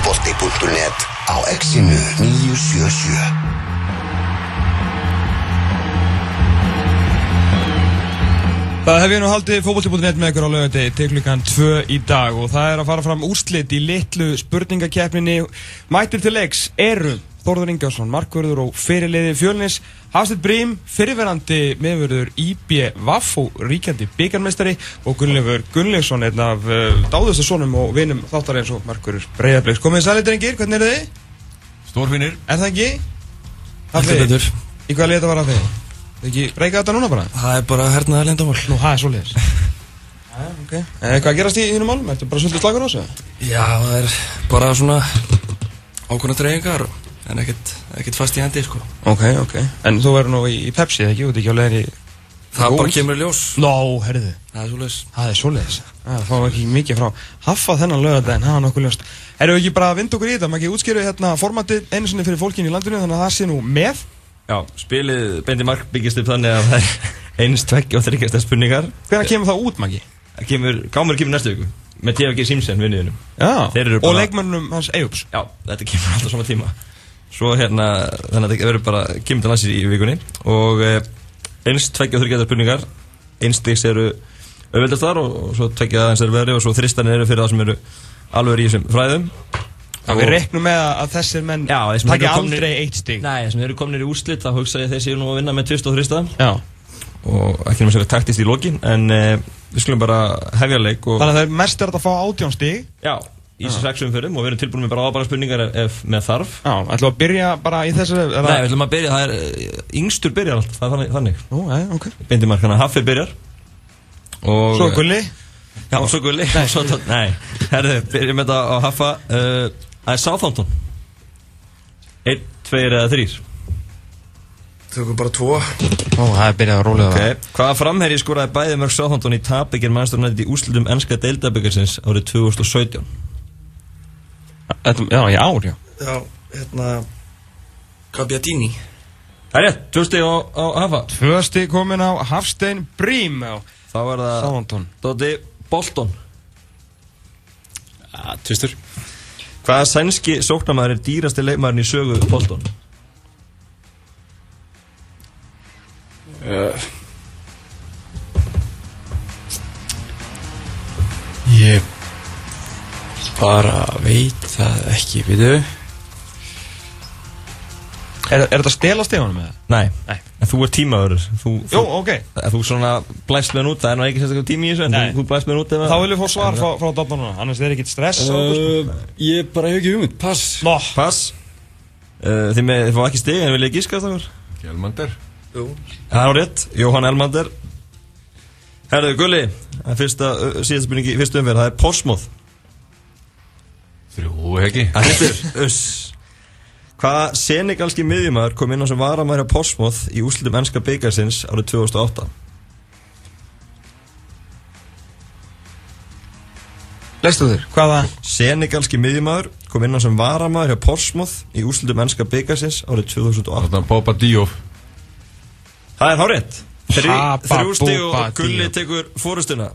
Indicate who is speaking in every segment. Speaker 1: Krónan.net á exinu 977
Speaker 2: Það hef ég nú haldið fókbólti.net með ykkur á lögadegi til klukkan 2 í dag og það er að fara fram úrslit í litlu spurningakeppninni Mættir til leiks eru Þórður Ingjársson, markvörður og fyrirliði fjölnis Hafstedt Brím, fyrirverandi meðvörður IB Vaff og ríkjandi byggarmestari og Gunnleifur Gunnleifsson, einn af uh, dáðustu sonum og vinum þáttar eins og markvörður Breiðarbleiks. Komið sælir drengir, hvernig eru þið?
Speaker 3: Stórfinir
Speaker 2: Er það ekki?
Speaker 4: Heldur
Speaker 2: Hafið-
Speaker 4: betur.
Speaker 2: Í hvað leita var að þið? Ekki breyka þetta núna bara?
Speaker 4: Það er bara hérna hernaðar lindamál
Speaker 2: Nú, það er svolítið okay. Er eitthvað að gerast í þínum málum? Ertu bara svolítið slagur á þessu?
Speaker 4: Já, það er bara svona ákveðna dreifingar og- en ekkert, ekkert fast í hendi sko.
Speaker 2: Ok, ok En þú verður nú í, í Pepsi, eða ekki? Þú ert ekki á leiðin í...
Speaker 4: Það
Speaker 2: Jú.
Speaker 4: bara kemur í ljós
Speaker 2: Nó, herðu
Speaker 4: Það er svolítið
Speaker 2: Það er svolítið Það fáum ekki mikið frá Haffa þennan lögadaginn, það var nokkuð ljóst Erum við ekki bara að vinda okkur í þetta? Maður ekki útskýru hérna formatið einu sinni fyrir fólkinu í landinu Þannig að það sé nú með
Speaker 3: Já, spilið bendi mark byggjast upp þannig að það er eins, tvekki og þryggjast að spurningar
Speaker 2: Hvernig kemur það út, Maggi?
Speaker 3: Það kemur, Gámur kemur næstu viku með TFG Simsen vinniðinum
Speaker 2: Já,
Speaker 3: Þeir eru
Speaker 2: og
Speaker 3: bara-
Speaker 2: leikmönnum hans Eyjups
Speaker 3: Já, þetta kemur alltaf sama tíma Svo hérna, þannig að þetta verður bara kemur til næstu í vikunni og eh, eins, tvekki og þryggjast að spurningar eins stíks eru auðveldastar og, og svo tvekki aðeins eru verið og svo þristanir eru fyrir það sem eru alveg í þessum fræðum
Speaker 2: Já, við reiknum með að að þessir menn
Speaker 3: Já, þessir menn
Speaker 2: taki
Speaker 3: eru komnir-
Speaker 2: aldrei eitt stig
Speaker 3: Nei, sem eru komnir í úrslit þá hugsa ég að þeir séu nú að vinna með tvist og þrista
Speaker 2: Já,
Speaker 3: og ekki nema sér að taktist í lokin en uh, við skulum bara hefja leik og,
Speaker 2: þannig að það er mest er að fá átjónstig
Speaker 3: já, í þessu sexum förum og við erum tilbúin með bara ábæra spurningar ef, ef með þarf
Speaker 2: Já, ætlum við að byrja bara í þessu er
Speaker 3: Nei,
Speaker 2: það-
Speaker 3: við ætlum að byrja, það er eh, yngstur byrjar allt, það er þannig, þannig.
Speaker 2: Nú, eh, ok
Speaker 3: beindi mark, þannig að Haffi byrjar og,
Speaker 2: Svo Gulli
Speaker 3: já, og svo gulli nei, svo, Tónn. nei. herðu, byrjum þetta á Haffa eh, það er Southampton 1, 2 eða 3
Speaker 4: Tökum bara tvo
Speaker 2: Ó, það er byrjað að róla það
Speaker 3: okay. hvaða framherji skoraði bæði mörg Southampton í tapbyggir mannstofnætti í úrslutum enska deildabyggarsins árið 2017
Speaker 2: Þetta, já, ég ár, já
Speaker 4: Já, hérna Gabiadini
Speaker 3: Það er rétt, tvö stig á, á Hafa
Speaker 2: Tvö stig komin á Hafstein Brím á
Speaker 3: Þá er það
Speaker 2: Sántón
Speaker 3: Dóti Bolton
Speaker 5: Ja, tvistur.
Speaker 3: Hvaða sænski sóknarmaður er dýrasti leikmaðurinn í sögu Bolton?
Speaker 5: Uh. Ég bara veit það ekki, veitu?
Speaker 2: Er, er þetta stela stegunum eða?
Speaker 3: Nei,
Speaker 2: Nei.
Speaker 3: En þú er tímaður þú, þú,
Speaker 2: Jú, ok
Speaker 3: en Þú svona blæst með hann út Það er nú ekki sérstaklega tími í þessu En þú,
Speaker 2: Nei.
Speaker 3: þú blæst með hann út ef að-
Speaker 2: Þá viljum við fá svar frá, frá dottnarna Annars er ekkert stress uh,
Speaker 5: ég bara hef ekki hugmynd, pass.
Speaker 2: Nó
Speaker 3: Pass uh, Þið, með, þið fá ekki stig en vilja gíska það var
Speaker 6: Gjelmander
Speaker 4: Jú
Speaker 3: Það er rétt Jóhann Elmander Herðu Gulli það er Fyrsta, uh, síðast spurningi, í fyrstu umferð Það er Portsmouth
Speaker 6: Þrjú, ekki?
Speaker 3: Það hittir Uss Hvaða senegalski miðjumæður kom inn á sem varamæður á Portsmouth í úslitum ennska byggarsins árið 2008?
Speaker 2: Lestu þér Hvaða?
Speaker 3: Senegalski miðjumæður kom inn á sem varamæður á Portsmouth í úslitum ennska byggarsins árið 2008
Speaker 6: Þarna Boba Díof
Speaker 3: Það er hárétt Þrjú,
Speaker 2: Papa
Speaker 3: þrjú stig og
Speaker 2: Búba
Speaker 3: gulli
Speaker 2: Dío.
Speaker 3: tekur fórustuna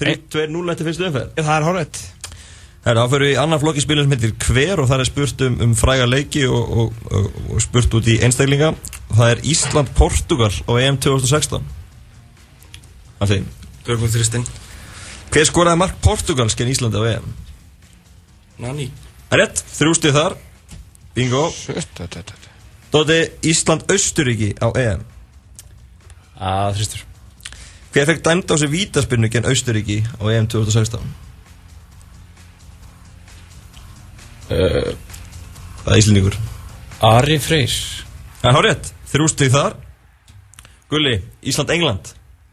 Speaker 3: 3-2-0 eftir fyrstu umferð
Speaker 2: Það er hárið
Speaker 3: Það er áferðu í annar flokki spilin sem heitir Hver og það er spurt um, um fræga leiki og, og, og, og spurt út í einstaklinga Það er Ísland-Portugal á E EM 2016 Það þeim
Speaker 4: Tökum þristinn
Speaker 3: Hver skoraði mark Portugals genn Íslandi á E EM?
Speaker 4: Nani
Speaker 3: Það er Rétt, þrjústið þar Bingo Dóti Ísland-Austuríki á EM
Speaker 5: Að þristur.
Speaker 3: Hver fekk dæmd á sig vítaspinnu genn Austuríki á EM 2016?
Speaker 5: Uh,
Speaker 3: Það er Íslandingur
Speaker 5: Ari Freyr.
Speaker 3: Það er hár rétt, þrjústið þar Gulli, Ísland-England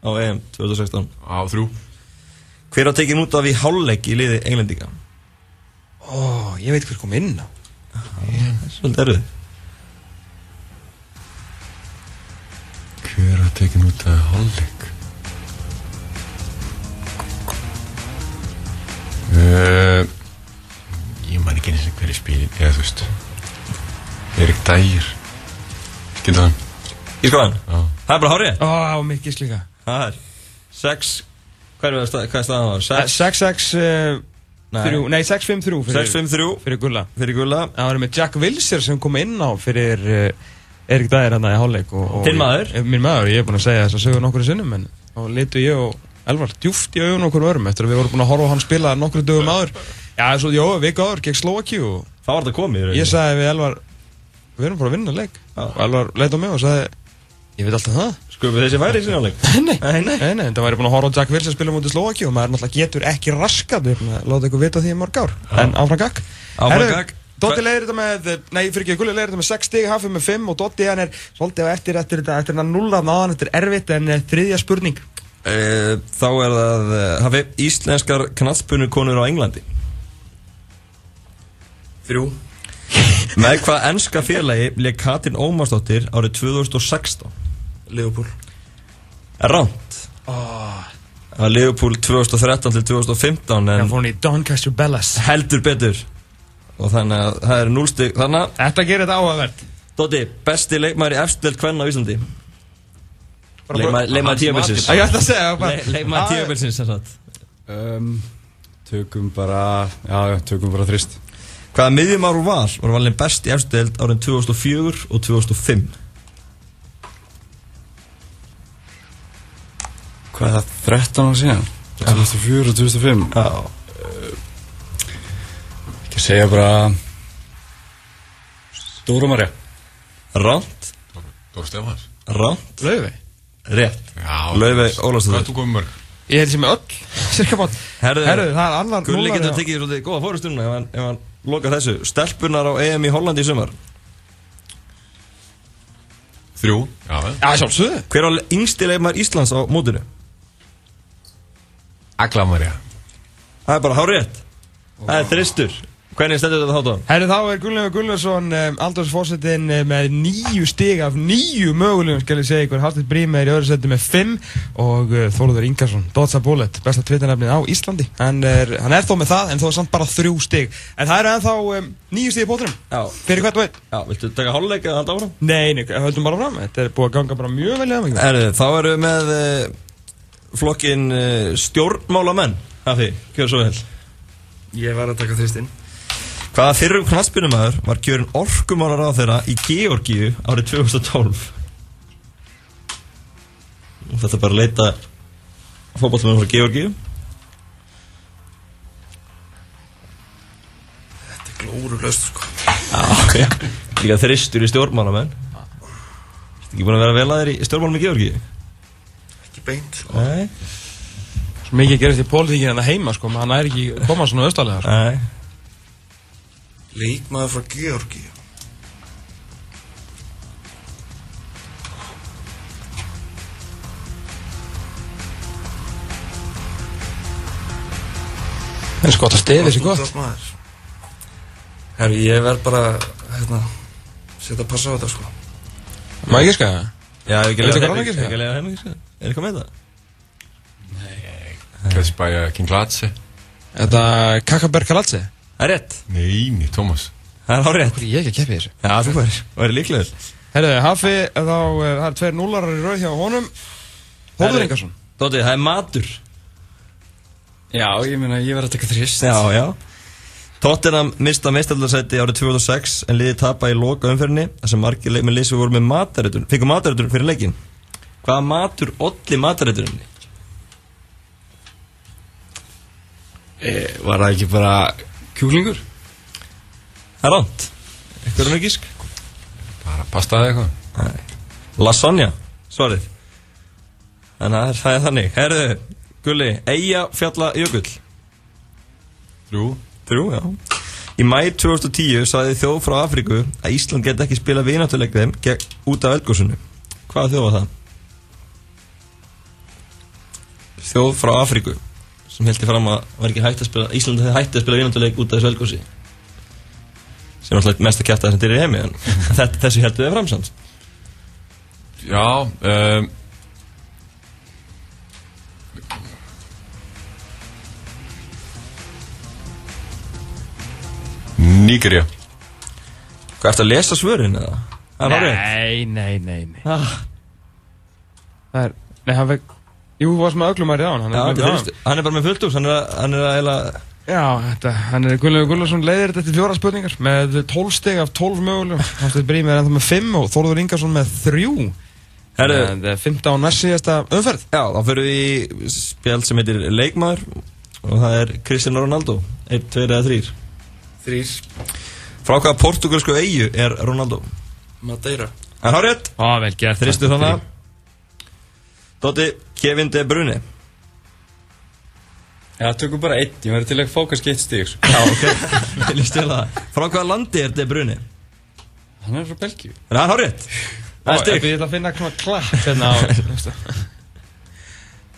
Speaker 3: á EM 2016
Speaker 6: Á þrjú
Speaker 3: Hver var tekin út af í hálfleik í liði englendinga?
Speaker 2: Ó, ég veit hver kom inn á
Speaker 3: Svolítið erfið
Speaker 6: Hver að tekin út af hálfleik? Uh, ég man ekki eins og hverju spilin Eða þú veist Erik Dægir Skildu hann?
Speaker 3: Í skoðan,
Speaker 6: Já
Speaker 3: það er bara hár rétt
Speaker 2: Ó, og mikið slíka Eh,
Speaker 3: Það er 6 Hvað er staðan var? 6
Speaker 2: 6-6 uh, Þrjú, nei, 6-5-3 fyrir,
Speaker 3: 6-5-3
Speaker 2: fyrir Gulla
Speaker 3: fyrir Gulla
Speaker 2: Það var með Jack Wilshere sem kom inn á fyrir uh, Erik Dæðir hann í hálfleik og, og
Speaker 3: Þinn maður?
Speaker 2: Eh, Minn maður, ég er búinn að segja þess að sögur nokkru sinnum en og litu ég og Elvar djúft í augun okkur örum eftir að við vorum búin að horfa á hann spila nokkru dögum áður Já, svo, jó, við gáður gegn Slovakíu og
Speaker 3: Það var þetta komið í rauninni.
Speaker 2: ég sagði við Elvar við erum bara að vinna leik og Elvar leit á mig og sagði ég veit alltaf það
Speaker 3: Skulum við þessi væri í sinjáleik
Speaker 2: Nei, nei, nei, nei, þetta væri búin að horfa á Jack Wilson spila mútið Slovaki og maður náttúrulega getur ekki raskat við erum að láta ykkur vita því í mörg ár en áfram gagg
Speaker 3: Áfram
Speaker 2: Herðu,
Speaker 3: gakk.
Speaker 2: Dotti leiðir þetta með, nei, fyrir ekki, Gulli leiðir þetta með 6 stig, Hafi með 5 og Dotti hann er svolítið á eftir eftir þetta, eftir hann nulla náðan, þetta er erfitt en eh, þriðja spurning
Speaker 3: Eh, Þá er það eh, Hafi íslenskar knallspunukonur á Englandi
Speaker 4: Þrjú
Speaker 3: Með hvað enska félagi leik Katrin Ómarsdóttir árið 2016
Speaker 4: Leopold
Speaker 3: Ránt Það var Liverpool 2013 til 2015
Speaker 2: Það
Speaker 3: en
Speaker 2: fór hann í Doncaster Bellas
Speaker 3: heldur betur og þannig að það er núlstig þannig að
Speaker 2: Þetta gerir þetta áhugavert
Speaker 3: Dóti, besti leikmaður í efstildelt kvenna á Íslandi Leikmaður- Leikmaður tíabilsins
Speaker 2: Æ, Ég ætla að segja það bara.
Speaker 3: Leikmaður
Speaker 2: Ah,
Speaker 3: tíabilsins sem sagt
Speaker 5: um, Tökum bara Já, já, tökum bara þrist
Speaker 3: Hvaða miðjumár hún var var valin best í efstildelt árin 2004 og 2005
Speaker 5: Hvað er það, 13 ára síðan? 2004 og 2005
Speaker 3: Já
Speaker 5: Ekki að segja bara Dóra Marja
Speaker 3: Ránt,
Speaker 6: Dóra Stefans
Speaker 3: ránt,
Speaker 2: Laufey.
Speaker 3: rétt
Speaker 6: Já,
Speaker 3: Laufey
Speaker 6: Hvað er
Speaker 3: Ólafsdóttir
Speaker 6: þú komið mörg?
Speaker 2: Ég held sem er öll Cirka bát
Speaker 3: Herðu,
Speaker 2: Herðu, það er annar
Speaker 3: Gulli
Speaker 2: núllari
Speaker 3: getur
Speaker 2: á-
Speaker 3: tekið svolítið góða fórustununa ef hann, ef hann lokar þessu Stelpunar á EM í Hollandi í sumar
Speaker 6: Þrjú Já, vel.
Speaker 2: Já, sjálfsögðu
Speaker 3: Hver var yngsti leikmaður Íslands á mótinu?
Speaker 6: Agla Maria
Speaker 3: Það er bara hárétt Það er þristur Hvernig stendur þetta þáttan?
Speaker 2: Herri þá er Gunnleifur Gunnlaugsson um, aldursfórsetin um, með nýju stig af nýju mögulegum skal ég segja ykkur Hafnir Brím er í öðru seti með fimm og uh, Þóluður Ingarsson, Dotsa Bullet besta tvittarnafnið á Íslandi hann er, hann er þó með það en þó er samt bara þrjú stig en það eru ennþá um, nýju stig í bóttunum
Speaker 3: Já.
Speaker 2: fyrir hvert og einn
Speaker 3: Já, viltu taka hálfleik eða halda áfram?
Speaker 2: Nei, nei, höldum bara fram, þetta er búið að ganga bara mjög vel í það
Speaker 3: Herðu, þá erum við með uh, flokkin uh, stjórnmálamenn Hafi, gjör svo vel
Speaker 4: Ég var að taka þristinn
Speaker 3: Hvaða fyrrum knaspinumæður var kjörin orkumálar á þeirra í Georgíu árið 2012? Nú þetta bara að leita fótbollmenn frá Georgíu.
Speaker 4: Þetta er glórulaust sko
Speaker 3: Já, líka þristur í stjórnmálamenn. Þetta ekki búin að vera vel að þeir í stjórnmálum í Georgíu?
Speaker 4: Ekki beint
Speaker 3: Nei.
Speaker 2: Svo mikið gerist í pólitíkinn en að heima sko, hann er ekki koma svona sko. austalega
Speaker 3: Nei.
Speaker 4: Leikmaður frá Georgi
Speaker 2: En sko, það stefið sér gott
Speaker 4: Maður Herru, ég verð bara hérna Sett að passa á þetta sko
Speaker 2: Má ekki skæða það?
Speaker 3: Já, ef ekki
Speaker 2: Veitu
Speaker 3: leiða
Speaker 2: hvað hann ekki skal?
Speaker 3: þeim ekki skal? Ekki leiða þeim ekki skal? Er eitthvað með það?
Speaker 6: Kessbæja King Latse
Speaker 2: Þetta Kakaberg Kalatsi?
Speaker 3: Það er rétt.
Speaker 6: Nei, nei, Thomas
Speaker 3: Það er hárið rétt.
Speaker 2: Ég er ekki að keppi þessu
Speaker 3: Já, þú er, og er líklegur.
Speaker 2: Herðu, Hafi, þá, eh, það er tveir núlarar í rauð hjá honum Hóður
Speaker 3: Herðu.
Speaker 2: Ingarsson
Speaker 3: Dóti, það er matur.
Speaker 5: Já, ég meina, ég var að taka þrist
Speaker 3: Já, já Tottenham mista meistaraldarsæti árið 2006 en liði tapa í loka umferðinni þar sem margir leikmenn lýsum voru með mataritun fengu mataritun fyrir leikin Hvaða matur olli matarituninni?
Speaker 5: e, Var það ekki bara kjúklingur?
Speaker 3: Það er ránt Eitthvað er mjög gísk
Speaker 6: Bara pastaði eitthvað
Speaker 3: Lasagna, svarið Þannig að það er- það er þannig Herðu, Gulli, Eyja fjalla jökull
Speaker 6: Þrjú
Speaker 3: Þrjú, já Í mæ 2010 sagði þjóð frá Afríku að Ísland get ekki spila vináttuleik þeim gegn- út af eldgósinu. Hvaða þjóð var það? Þjóð frá Afríku sem heldur fram að var ekki hægt að spila Ísland hefði hægt að spila vináttuleik út af þessu eldgósi sem er alltaf mest að kjarta þessum dyrir í heimi en þetta, þessu heldur við framsamt
Speaker 6: Já, um,
Speaker 5: ehm,
Speaker 6: Nígerja
Speaker 3: Hvað ertu að lesa svörin eða? Það var rétt
Speaker 2: Nei, nei, nei, nei
Speaker 3: Ah,
Speaker 2: Það er, nei, hann vekk Jú, þú varst með öglum að ráðan
Speaker 3: já, þetta er fyrst- Hann er bara með fullt úr hann er að, hann er að, eiginlega-
Speaker 2: Já, þetta, hann er Gunnlaugur Gunnlaugsson leiðir þetta til fjóra spurningar með 12 steg af 12 mögulegum Hafsteinn Brímir er ennþá með 5 og Þórður Ingarsson með 3
Speaker 3: Herru.
Speaker 2: Það er 15 næst síðasta umferð
Speaker 3: Já, þá fyrir við í spjald sem heitir Leikmaður og það er Cristiano Ronaldo 1, 2 eða 3
Speaker 4: Þrýr
Speaker 3: Frá hvaða portugalsku eigu er Ronaldo?
Speaker 4: Madeira
Speaker 3: En hárið,
Speaker 2: Á, vel gert
Speaker 3: þristu þannig að Dóti, Kevin De Bruyne
Speaker 5: Já, tökum bara einn, ég verði til að fá kannski eitt sko. stíg
Speaker 3: Já, ok, vil ég stela það Frá hvaða landi er De Bruyne?
Speaker 5: Hann er frá Belgíu
Speaker 3: En það er hárið Það er
Speaker 2: Ég
Speaker 3: stig
Speaker 2: vil að finna svona klapp hérna á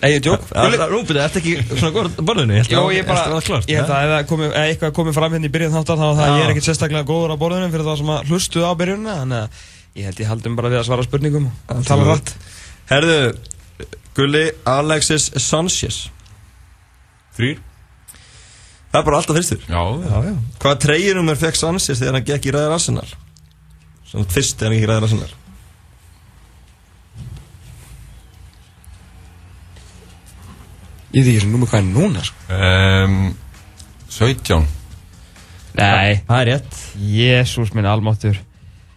Speaker 2: Nei, ég djók
Speaker 3: Það er rúpið, það ert ekki svona góður á borðinu ég held
Speaker 2: Jó,
Speaker 3: að-
Speaker 2: ég bara,
Speaker 3: held að það var klart
Speaker 2: ég held að ef það komi, ef eitthvað komið fram hérna í byrjun þáttar þá var það að
Speaker 3: Já.
Speaker 2: ég er ekkert sérstaklega góður á borðunum fyrir það sem að hlustuð á byrjunna þannig að ég held ég haldum bara við að svara spurningum og tala
Speaker 3: þú-
Speaker 2: rætt
Speaker 3: Herðu, Gulli Alexis Sanchez
Speaker 6: Þrýr?
Speaker 3: Það er bara alltaf þristur
Speaker 6: Já, já.
Speaker 3: já. Hvaða treyjunumur fekk Sanchez þegar hann gekk í ræðir Arsenal? Svona fyrst þegar hann gekk í ræðir Arsenal
Speaker 2: Ég því, ég er númer hvað er núna, sko
Speaker 5: Ehm,
Speaker 6: Um, 17
Speaker 2: Nei,
Speaker 3: Það er rétt
Speaker 2: jésús minn almáttur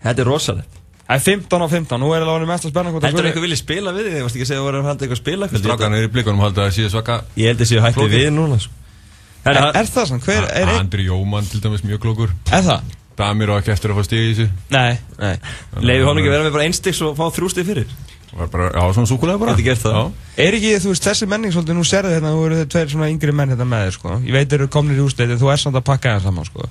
Speaker 3: Þetta er rosalegt
Speaker 2: Það er 15 á 15, nú er það alveg mesta spennan hvort
Speaker 3: Heldur
Speaker 2: það
Speaker 3: þú eitthvað viljið spila við þig? Varst ekki að segja að voru að halda eitthvað spila kvöld?
Speaker 6: Strákan er í blikunum halda að síða svaka
Speaker 3: Ég held að séu hætti
Speaker 6: Flókið.
Speaker 3: við núna sko. Herra,
Speaker 2: er, er það sann, hver er einn?
Speaker 6: Andri Jóman til dæmis mjög klókur
Speaker 2: Er það?
Speaker 6: Damir á ekki eftir að fá stíð í þessu
Speaker 2: Nei, nei
Speaker 3: Leiði honum ekki að vera með bara einstig og fá þrjústig fyrir
Speaker 6: Var bara, Já, svona súkulega bara
Speaker 3: Gæti gert það.
Speaker 6: Já.
Speaker 2: Er ekki, þú veist, þessi menning svolítið, nú serðu hérna, þú eru þeir tveir svona yngri menn hérna með þér, sko Ég veit þeir eru komnir í úrslitin, þú er samt að pakka það saman, sko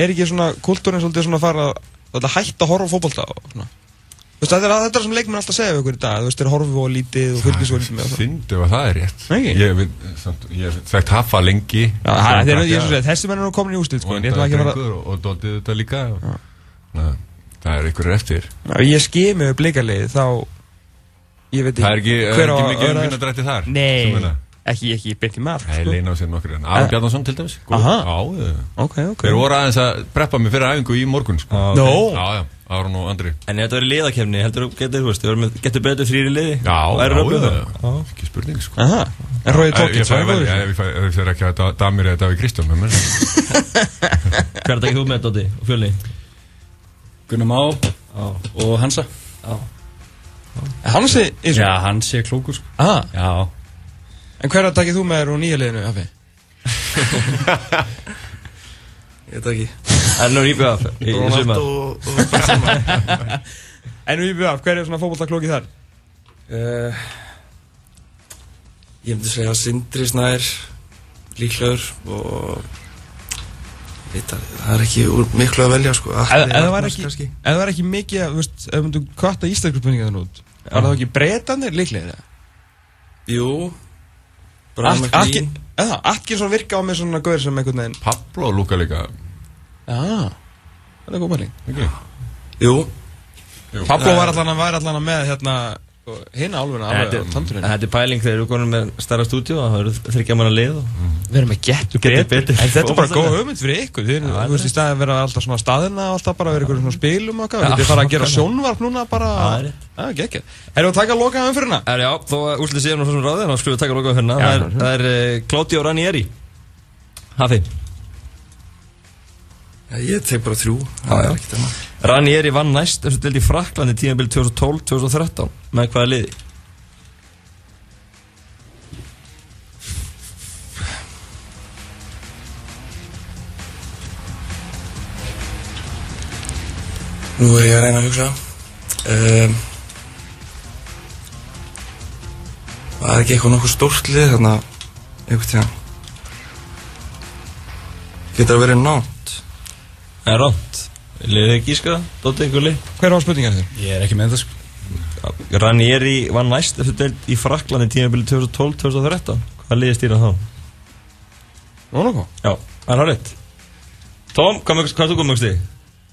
Speaker 2: Er ekki svona, kultúrin svolítið svona fara að þetta hætta að horfa á fótbolta og svona Þú veist, þetta er, þetta er sem leikmenn alltaf segja við ykkur í dag, þú veist, þeir horfa og lítið og fylgis og lítið með og svona
Speaker 6: Fyndu að það er rétt
Speaker 2: Nei, ekki?
Speaker 6: Ég við- samt- ég hef þekkt hafa lengi
Speaker 2: Já, það- þeir eru- ég er svo að segja, Þessi menn eru komin í úrslit,
Speaker 6: Og
Speaker 2: sko, en ég ætla
Speaker 6: endaði
Speaker 2: ekki að fara
Speaker 6: drengur og, og dótið þetta líka Ná, Það er ykkur eftir
Speaker 2: Ef ég skimi upp leikarlegið þá Ég veit ekki
Speaker 6: Það er ekki, er
Speaker 2: hver á
Speaker 6: ekki
Speaker 2: að-
Speaker 6: mikið
Speaker 2: öðra-
Speaker 6: um minna drætti þar sem
Speaker 2: Nei,
Speaker 6: meina.
Speaker 2: ekki, ekki beint í mark
Speaker 6: Það er
Speaker 2: sko.
Speaker 6: leina á sér nokkur en Aron
Speaker 2: Eh.
Speaker 6: Bjarnason til dæmis Góð-
Speaker 2: Aha.
Speaker 6: Já, eh,
Speaker 2: Ok, ok
Speaker 6: þeir voru aðeins að preppa mig fyrir æfingu í morgun sko.
Speaker 3: Já, ok.
Speaker 2: Nó.
Speaker 6: Já, já, Aron og Andri
Speaker 3: En ef þetta verið liðakefni, heldur þú getur, þú veist, þú verður með- getur betur þrýri liði
Speaker 6: Já,
Speaker 3: Og
Speaker 6: já,
Speaker 3: eru öflugir?
Speaker 6: já, já, ekki spurning sko
Speaker 2: Aha, en Róði
Speaker 6: Ef
Speaker 2: Tókins
Speaker 6: ég fæ- vel- ef ég fæ- ef ég fer ekki að da- Damir eða Davík Kristján með mér
Speaker 3: Hver dag er þú með Dóti og Fjölni?
Speaker 5: Gunnar Má og Hansa
Speaker 2: Hann sé, eins og
Speaker 5: Já, hann sé klókur sko
Speaker 2: Aha,
Speaker 5: Já
Speaker 2: en hverja takkið þú með þér úr nýja liðinu, Afi?
Speaker 4: Ég veit ekki
Speaker 3: Ennur IBF í í sumar
Speaker 4: og, og Barcelona
Speaker 2: En við bjöðum, hver er svona fótbollaklókið þar?
Speaker 4: uh, Ég myndi segja Sindri Snær Líklegur og ég veit að það er ekki úr miklu að velja sko Atli
Speaker 2: Ef það var
Speaker 4: Arnars
Speaker 2: ekki,
Speaker 4: kannski.
Speaker 2: ef það var ekki mikið, að, þú veist, ef myndu kvarta íslensku spurninga þann út Var það ekki breytanir líklega?
Speaker 4: Jú Brian McLean
Speaker 2: Eða, Atkinson virka á mig svona gaur sem einhvern veginn
Speaker 6: Pablo og Luka líka
Speaker 2: Já, þetta er góð bæling
Speaker 6: ekki?
Speaker 4: Jú,
Speaker 2: Pablo var allan að væri allan að með hérna Hina álfuna,
Speaker 3: Þetta
Speaker 2: alveg á
Speaker 3: er- en
Speaker 2: tandurinn
Speaker 3: Þetta er pæling þegar þú konum með starra stúdíu Það eru þryggja manna lið og
Speaker 2: Mhm. Við erum að getu
Speaker 3: Getur betur.
Speaker 2: En þetta er bara
Speaker 3: Fótbolta.
Speaker 2: góð hugmynd fyrir ykkur Þið erum, þú veist, í staði að vera alltaf svona staðina og alltaf bara vera ykkur svona spilum og eitthvað Þið erum fara að gera sjónvarp núna bara
Speaker 3: Það er rétt.
Speaker 2: Já, gekkja Erum við að taka að loka umfyrirna?
Speaker 3: Er, já, þó að úrslið séum nú svo sem ráðið, þá skulum við taka lokaðu hérna.
Speaker 2: Já,
Speaker 3: Það er,
Speaker 2: já.
Speaker 3: það er uh, Claudio Ranieri. Hafi.
Speaker 4: ja, ég tek bara þrjú Það er ekkert annað
Speaker 3: Ranieri vann næst þessu delt í Fraklandi tíðanbili 2012-2013. Með hvaða liði?
Speaker 4: Nú er ég að reyna að hugsa um, Það er ekki eitthvað nokkuð stórt lið þarna einhvern tíðan Getur að vera nátt
Speaker 3: Það er rátt. Liðið ekki íska, Dóttir ykkur lið.
Speaker 2: Hver var spurningar þér?
Speaker 5: Ég er ekki með það sko
Speaker 3: Ranieri vann næst þessu delt í Fraklandi tíðanbili 2012-2013. Hvaða liði stýra þá?
Speaker 2: Mónakó
Speaker 3: Já, það er hárið. Tom, hvað, mörg- hvað er þú komið mjög stíð?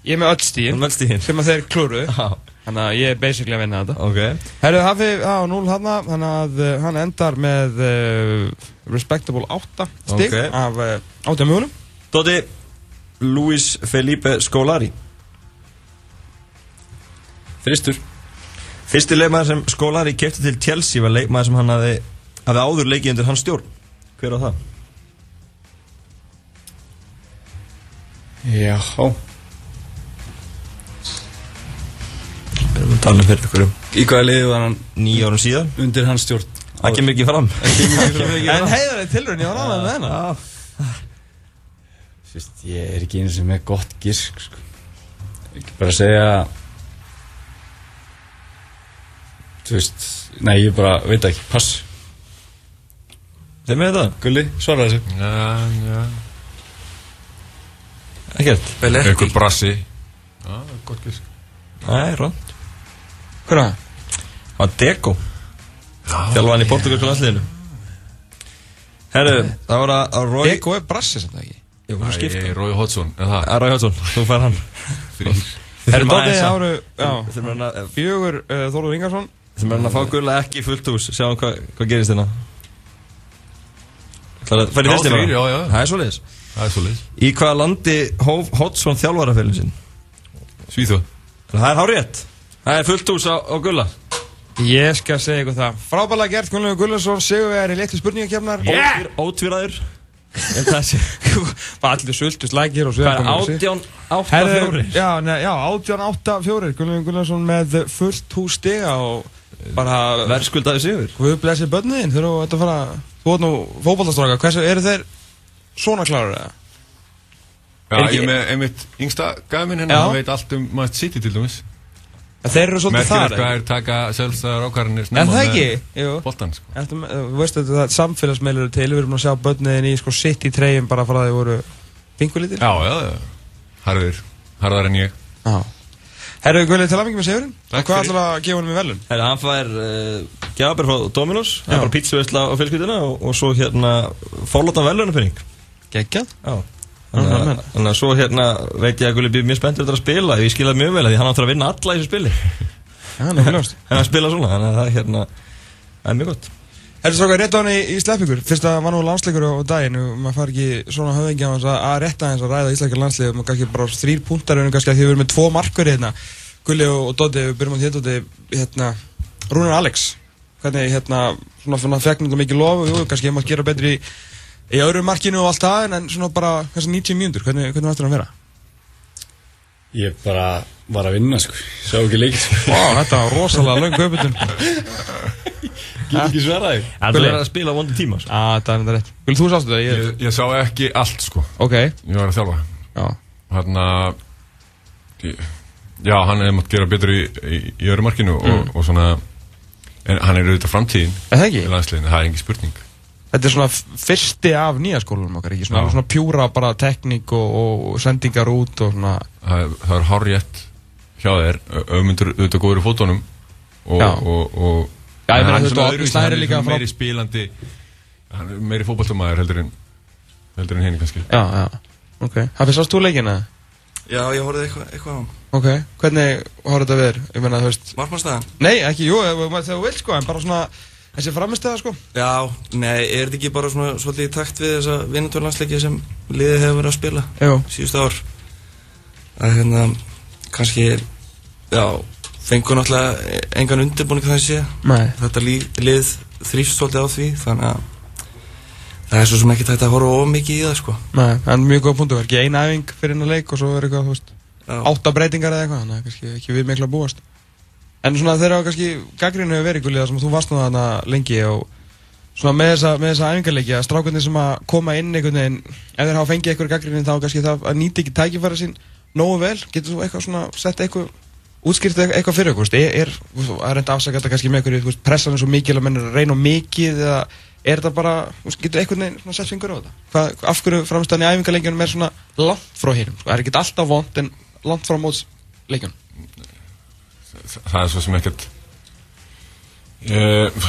Speaker 2: Ég er með öll
Speaker 3: Þú
Speaker 2: stíðin
Speaker 3: mælst í hinn.
Speaker 2: sem að þeir klúru
Speaker 3: Já,
Speaker 2: Þannig að ég er basically að vinna þetta
Speaker 3: ok.
Speaker 2: Herru, hafi á 0 hann Þannig að uh, hann endar með uh, respectable 8 stig
Speaker 3: Ok.
Speaker 2: af uh, 8 mjögulum
Speaker 3: Dótti, Luis Felipe Scolari.
Speaker 5: Þristur
Speaker 3: Fyrsti leikmaður sem skólari kefti til Chelsea var leikmaður sem hann hafði, hafði áður leikið undir hans stjórn. Hver á það?
Speaker 5: Já,
Speaker 3: Við erum að tala um fyrir ykkur um
Speaker 4: Í hvaða liði var hann
Speaker 3: nýja árum síðan
Speaker 5: undir hans stjórn
Speaker 3: Það kemur ekki fram
Speaker 2: En heiðarlega tilröðin, ég var ánægð með hennar
Speaker 5: Sýst, ég er ekki einu sem er gott gísk sko. Ég er bara að segja Þú veist Nei, ég bara veit ekki, pass
Speaker 3: Þeim er þetta?
Speaker 5: Gulli, svara þessu
Speaker 6: Já, já.
Speaker 3: Ekkert
Speaker 6: Einhver brassi. Já, gott gísk.
Speaker 3: Nei, rátt
Speaker 2: Hvað er það?
Speaker 3: Var Deco Þjálfaðan í portugalska landsliðinu Herru, það var að Roy
Speaker 2: Eko er brassi samt ekki
Speaker 3: Jú, þú
Speaker 6: Æ,
Speaker 3: skipt
Speaker 6: ég er Rói Hotsson, er það?
Speaker 3: Roy Hjótsson, þú fær hann
Speaker 6: Þrír.
Speaker 2: Herri,
Speaker 3: Þurfum
Speaker 2: Dóti
Speaker 3: aðeins að-
Speaker 2: áru, já
Speaker 3: Þurfum hann að
Speaker 2: Fjögur uh, Þorður Ingarsson
Speaker 3: Þeim er hann að fá gula ekki í fullt hús Sjáum hvað hvað gerist hérna Það fær í
Speaker 6: Já,
Speaker 3: næstum
Speaker 6: þrír, já, já.
Speaker 3: Það er svoleiðis
Speaker 6: Það er svolítið.
Speaker 3: Í hvaða landi hóf Hotsson þjálfarafélin sinn?
Speaker 6: Svíþjóð.
Speaker 3: Það er hárétt Það er fullt hús á, á gulla
Speaker 2: Ég skal segja ykkur það Frábælega gert Gunnlaugur Gullarsson Sigurvegar í litlu spurningakefnar
Speaker 3: yeah! Ótvíraður En það sé
Speaker 2: Var allir sultust lækir og
Speaker 3: Það er
Speaker 2: sögur
Speaker 3: átján átta
Speaker 2: Herðu,
Speaker 3: fjórir
Speaker 2: já, ne, já, 18-8-4 Gunnlaugur Gullarsson með fullt hús stiga og bara
Speaker 3: Verðskuldaði sigur
Speaker 2: Hvað blessir börnin þurfa að þetta fara Þú ert nú fótballastráka Hversu eru þeir svona klárar eða?
Speaker 6: Já,
Speaker 3: Er ekki-
Speaker 6: ég er með einmitt yngsta gafin hennar,
Speaker 2: Já.
Speaker 6: hann veit allt um Mast City til dæmis.
Speaker 2: En Þeir eru svolítið
Speaker 6: Merkilegt
Speaker 2: þar
Speaker 6: hvað
Speaker 2: ekki?
Speaker 6: er taka sjálfstæðar ákvarðanir
Speaker 2: En
Speaker 6: snemma
Speaker 2: það
Speaker 6: með
Speaker 2: ekki? Jú
Speaker 6: boltann, sko.
Speaker 2: Ertu, með- þú veist þetta það samfélagsmeilur til við erum að sjá börniðin í sko sitt í treyjum bara frá því þau voru vinkulítir
Speaker 6: Já, já, já. Harður. Harðar en ég.
Speaker 2: Já Herru Guðlið til aðmengi með segurinn
Speaker 6: Takk
Speaker 2: Hvað
Speaker 6: fyrir.
Speaker 2: ætlar að gefa honum í velun?
Speaker 3: Herra, hann fær uh, gjafir frá Dominos Hann
Speaker 2: Já.
Speaker 3: fær pítsuversla á fjölskyldina og, og svo hérna Fórlóttan velunarpenning
Speaker 2: Geggjað
Speaker 3: Já Þannig
Speaker 2: Mhm,
Speaker 3: að-
Speaker 2: men.
Speaker 3: þannig að svo hérna veit ég að Gulli býr mjög spenntur þetta að spila Ég skilði það mjög vel að því hann áttur að vinna alla í þessu spili
Speaker 2: Já, nefnilegast
Speaker 3: En hann spila svona, þannig að það hérna Það er mjög gott
Speaker 2: Herru strákar, rétt á hann í, í sleppingur Fyrst að var nú landsleikur á, á daginn og maður fari ekki svona höfðingja að, að rétta hans að ræða íslækjar landslið og maður kannski bara þrýr púntar en kannski að því við erum með tvo markur hérna Gulli og, og Dóti, við byrjum á þér Dóti hérna, Rúnar Alex hvernig hérna, svona, svona fegn þetta mikið lof og jú, kannski maður gera betri í, í öðru markinu og allt það en- en svona bara kannski 90 mínútur, hvernig, hvernig ættir hann að vera?
Speaker 5: Ég bara var að vinna, sko Sá ekki leikið, sko
Speaker 2: Vá, þetta var rosalega löng uppbytun
Speaker 5: Gíl ekki svara þig
Speaker 3: Það er að spila á vondi tíma sko.
Speaker 2: Já, þetta Ah, er þetta rétt Gulli, þú sástu þetta, ég
Speaker 6: ég. Ég sá ekki allt, sko.
Speaker 2: Ok,
Speaker 6: Ég var að þjálfa.
Speaker 2: já
Speaker 6: Hanna... Já, hann er mátt gera betur í, í, í öru markinu
Speaker 2: Mm.
Speaker 6: og, og svona... En hann er auðvitað framtíðin
Speaker 2: Er það ekki?
Speaker 6: í landsliðinu, það er engin spurning.
Speaker 2: Þetta er svona f- fyrsti af nýja skólanum okkar, ekki? Svona,
Speaker 6: Já.
Speaker 2: svona pjúra bara tekník og, og sendingar út og svona
Speaker 6: það er- það er hárjætt hjá þér auðvitað auðvitað góður í fótunum og,
Speaker 2: Já.
Speaker 6: og, og
Speaker 2: Já, ég meina,
Speaker 6: hann
Speaker 2: þú veist,
Speaker 6: er svona
Speaker 2: og
Speaker 6: öðruvísi,
Speaker 2: Snær er
Speaker 6: hann er
Speaker 2: líka
Speaker 6: svona
Speaker 2: frá-
Speaker 6: meiri spilandi hann er meiri fótballtumæður heldur en heldur en henni kannski
Speaker 2: Já, já, ok Hafi, sást þú leikina?
Speaker 4: Já, ég horfði eitthvað eitthva á hann
Speaker 2: Ok, hvernig horfðu þetta verið? Ég meina, þú veist
Speaker 4: Markmannstæðan?
Speaker 2: Nei, ekki, jú, ef- ef- þegar þú vilt, sko, en bara svona Þessi framistæða, sko
Speaker 4: Já, nei, er þetta ekki bara svona svolítið í takt við þessa vinnatórlandsleiki sem liðið hefur verið að spila
Speaker 2: Jú
Speaker 4: síðustu ár að hérna, kannski já, fengur náttúrulega engan undirbúning þannig sé
Speaker 2: Nei
Speaker 4: þetta lí- lið þrýst svolítið á því þannig að það er svo sem ekki tætt að horfa of mikið í það sko
Speaker 2: Nei, en mjög góð punktu, ekki eina æfing fyrir hennar leik og svo er eitthvað, þú veist
Speaker 4: Já.
Speaker 2: Átta breytingar eða eitthvað, þannig að kannski ekki við miklu að búast En svona þegar að kannski gaggrinu hefur verið gulið það sem þú varst nú þarna lengi og svona með þessa, með þessa æfingarleiki að strákunni sem að koma inn einhvern veginn ef þeir hafa fengið eitthvað gaggrinu þá kannski það að nýta ekki tækifæra sín nógu vel, getur þú eitthvað svona sett eitthvað útskýrt eit- eitthvað fyrir okkur, er, er, þú veist, að reynda afsaka þetta kannski með einhverju, þú veist, pressan er svo mikil að menn eru að reyna of mikið eða er þetta bara, þú veist, getur einhvern veginn svona sett fingur á þetta? Hvað, af hverju framstæðan í æfingarleikjunum er svona langt frá hérum, sko, það er ekki alltaf vond en langt frá mótsleikjunum?
Speaker 6: Þa- það er svo sem ekkert uh,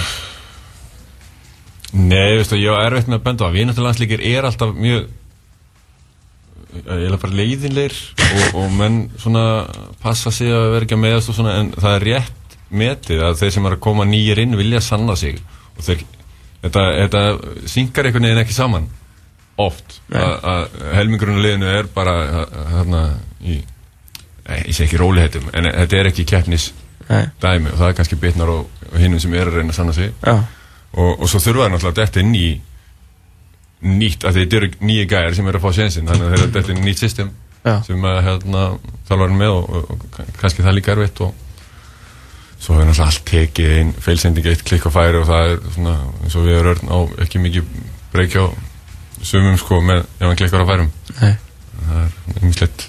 Speaker 6: Nei, veistu, ég var erfitt með að benda á vinatalandsleikir er alltaf mjög ég er bara leiðinleir og, og menn svona passa sig að vera ekki að meðast og svona en það er rétt metið að þeir sem eru að koma nýjir inn vilja sanna sig og þeir, þetta, þetta synkar einhvern veginn ekki saman oft að að helmingurinn á liðinu er bara að- að- hérna í, nei, ég sé ekki róliheitum en þetta er ekki keppnis
Speaker 2: Nei,
Speaker 6: dæmi og það er kannski bitnar á, á hinnum sem er að reyna að sanna sig
Speaker 2: já,
Speaker 6: og, og svo þurfa það náttúrulega að detta inn í nýtt, af því þetta eru nýju gæjar sem eru að fá sénsinn þannig að þeir eru að detta inn í nýtt system
Speaker 2: Já.
Speaker 6: sem að hérna, þjálfarinn með og, og, og kannski það er líka erfitt og svo hefur náttúrulega allt tekið einn feilsending eitt klikk og færi og það er svona eins og við erum örn á ekki mikið breykja á sumum sko með ef hann klikkar á færum
Speaker 2: Nei.
Speaker 6: það er umslett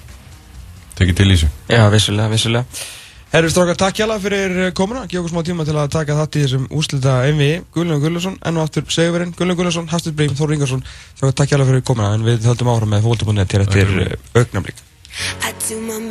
Speaker 6: tekið til í þessu
Speaker 2: Já, vissulega, vissulega. Herru strákar, takk hjá fyrir eh, komuna. Gjóð okkur smá tíma til að taka þátt í þessum úslita MVI. Gullin Gullarsson, enn og aftur Segurverinn, Gullin Gullarsson, Hafstur Brím, Þór Ingarsson. Strákar, takk hjá fyrir komuna. En við höldum áfram með fólkbúinni til eftir eh, augnablik.
Speaker 7: I do my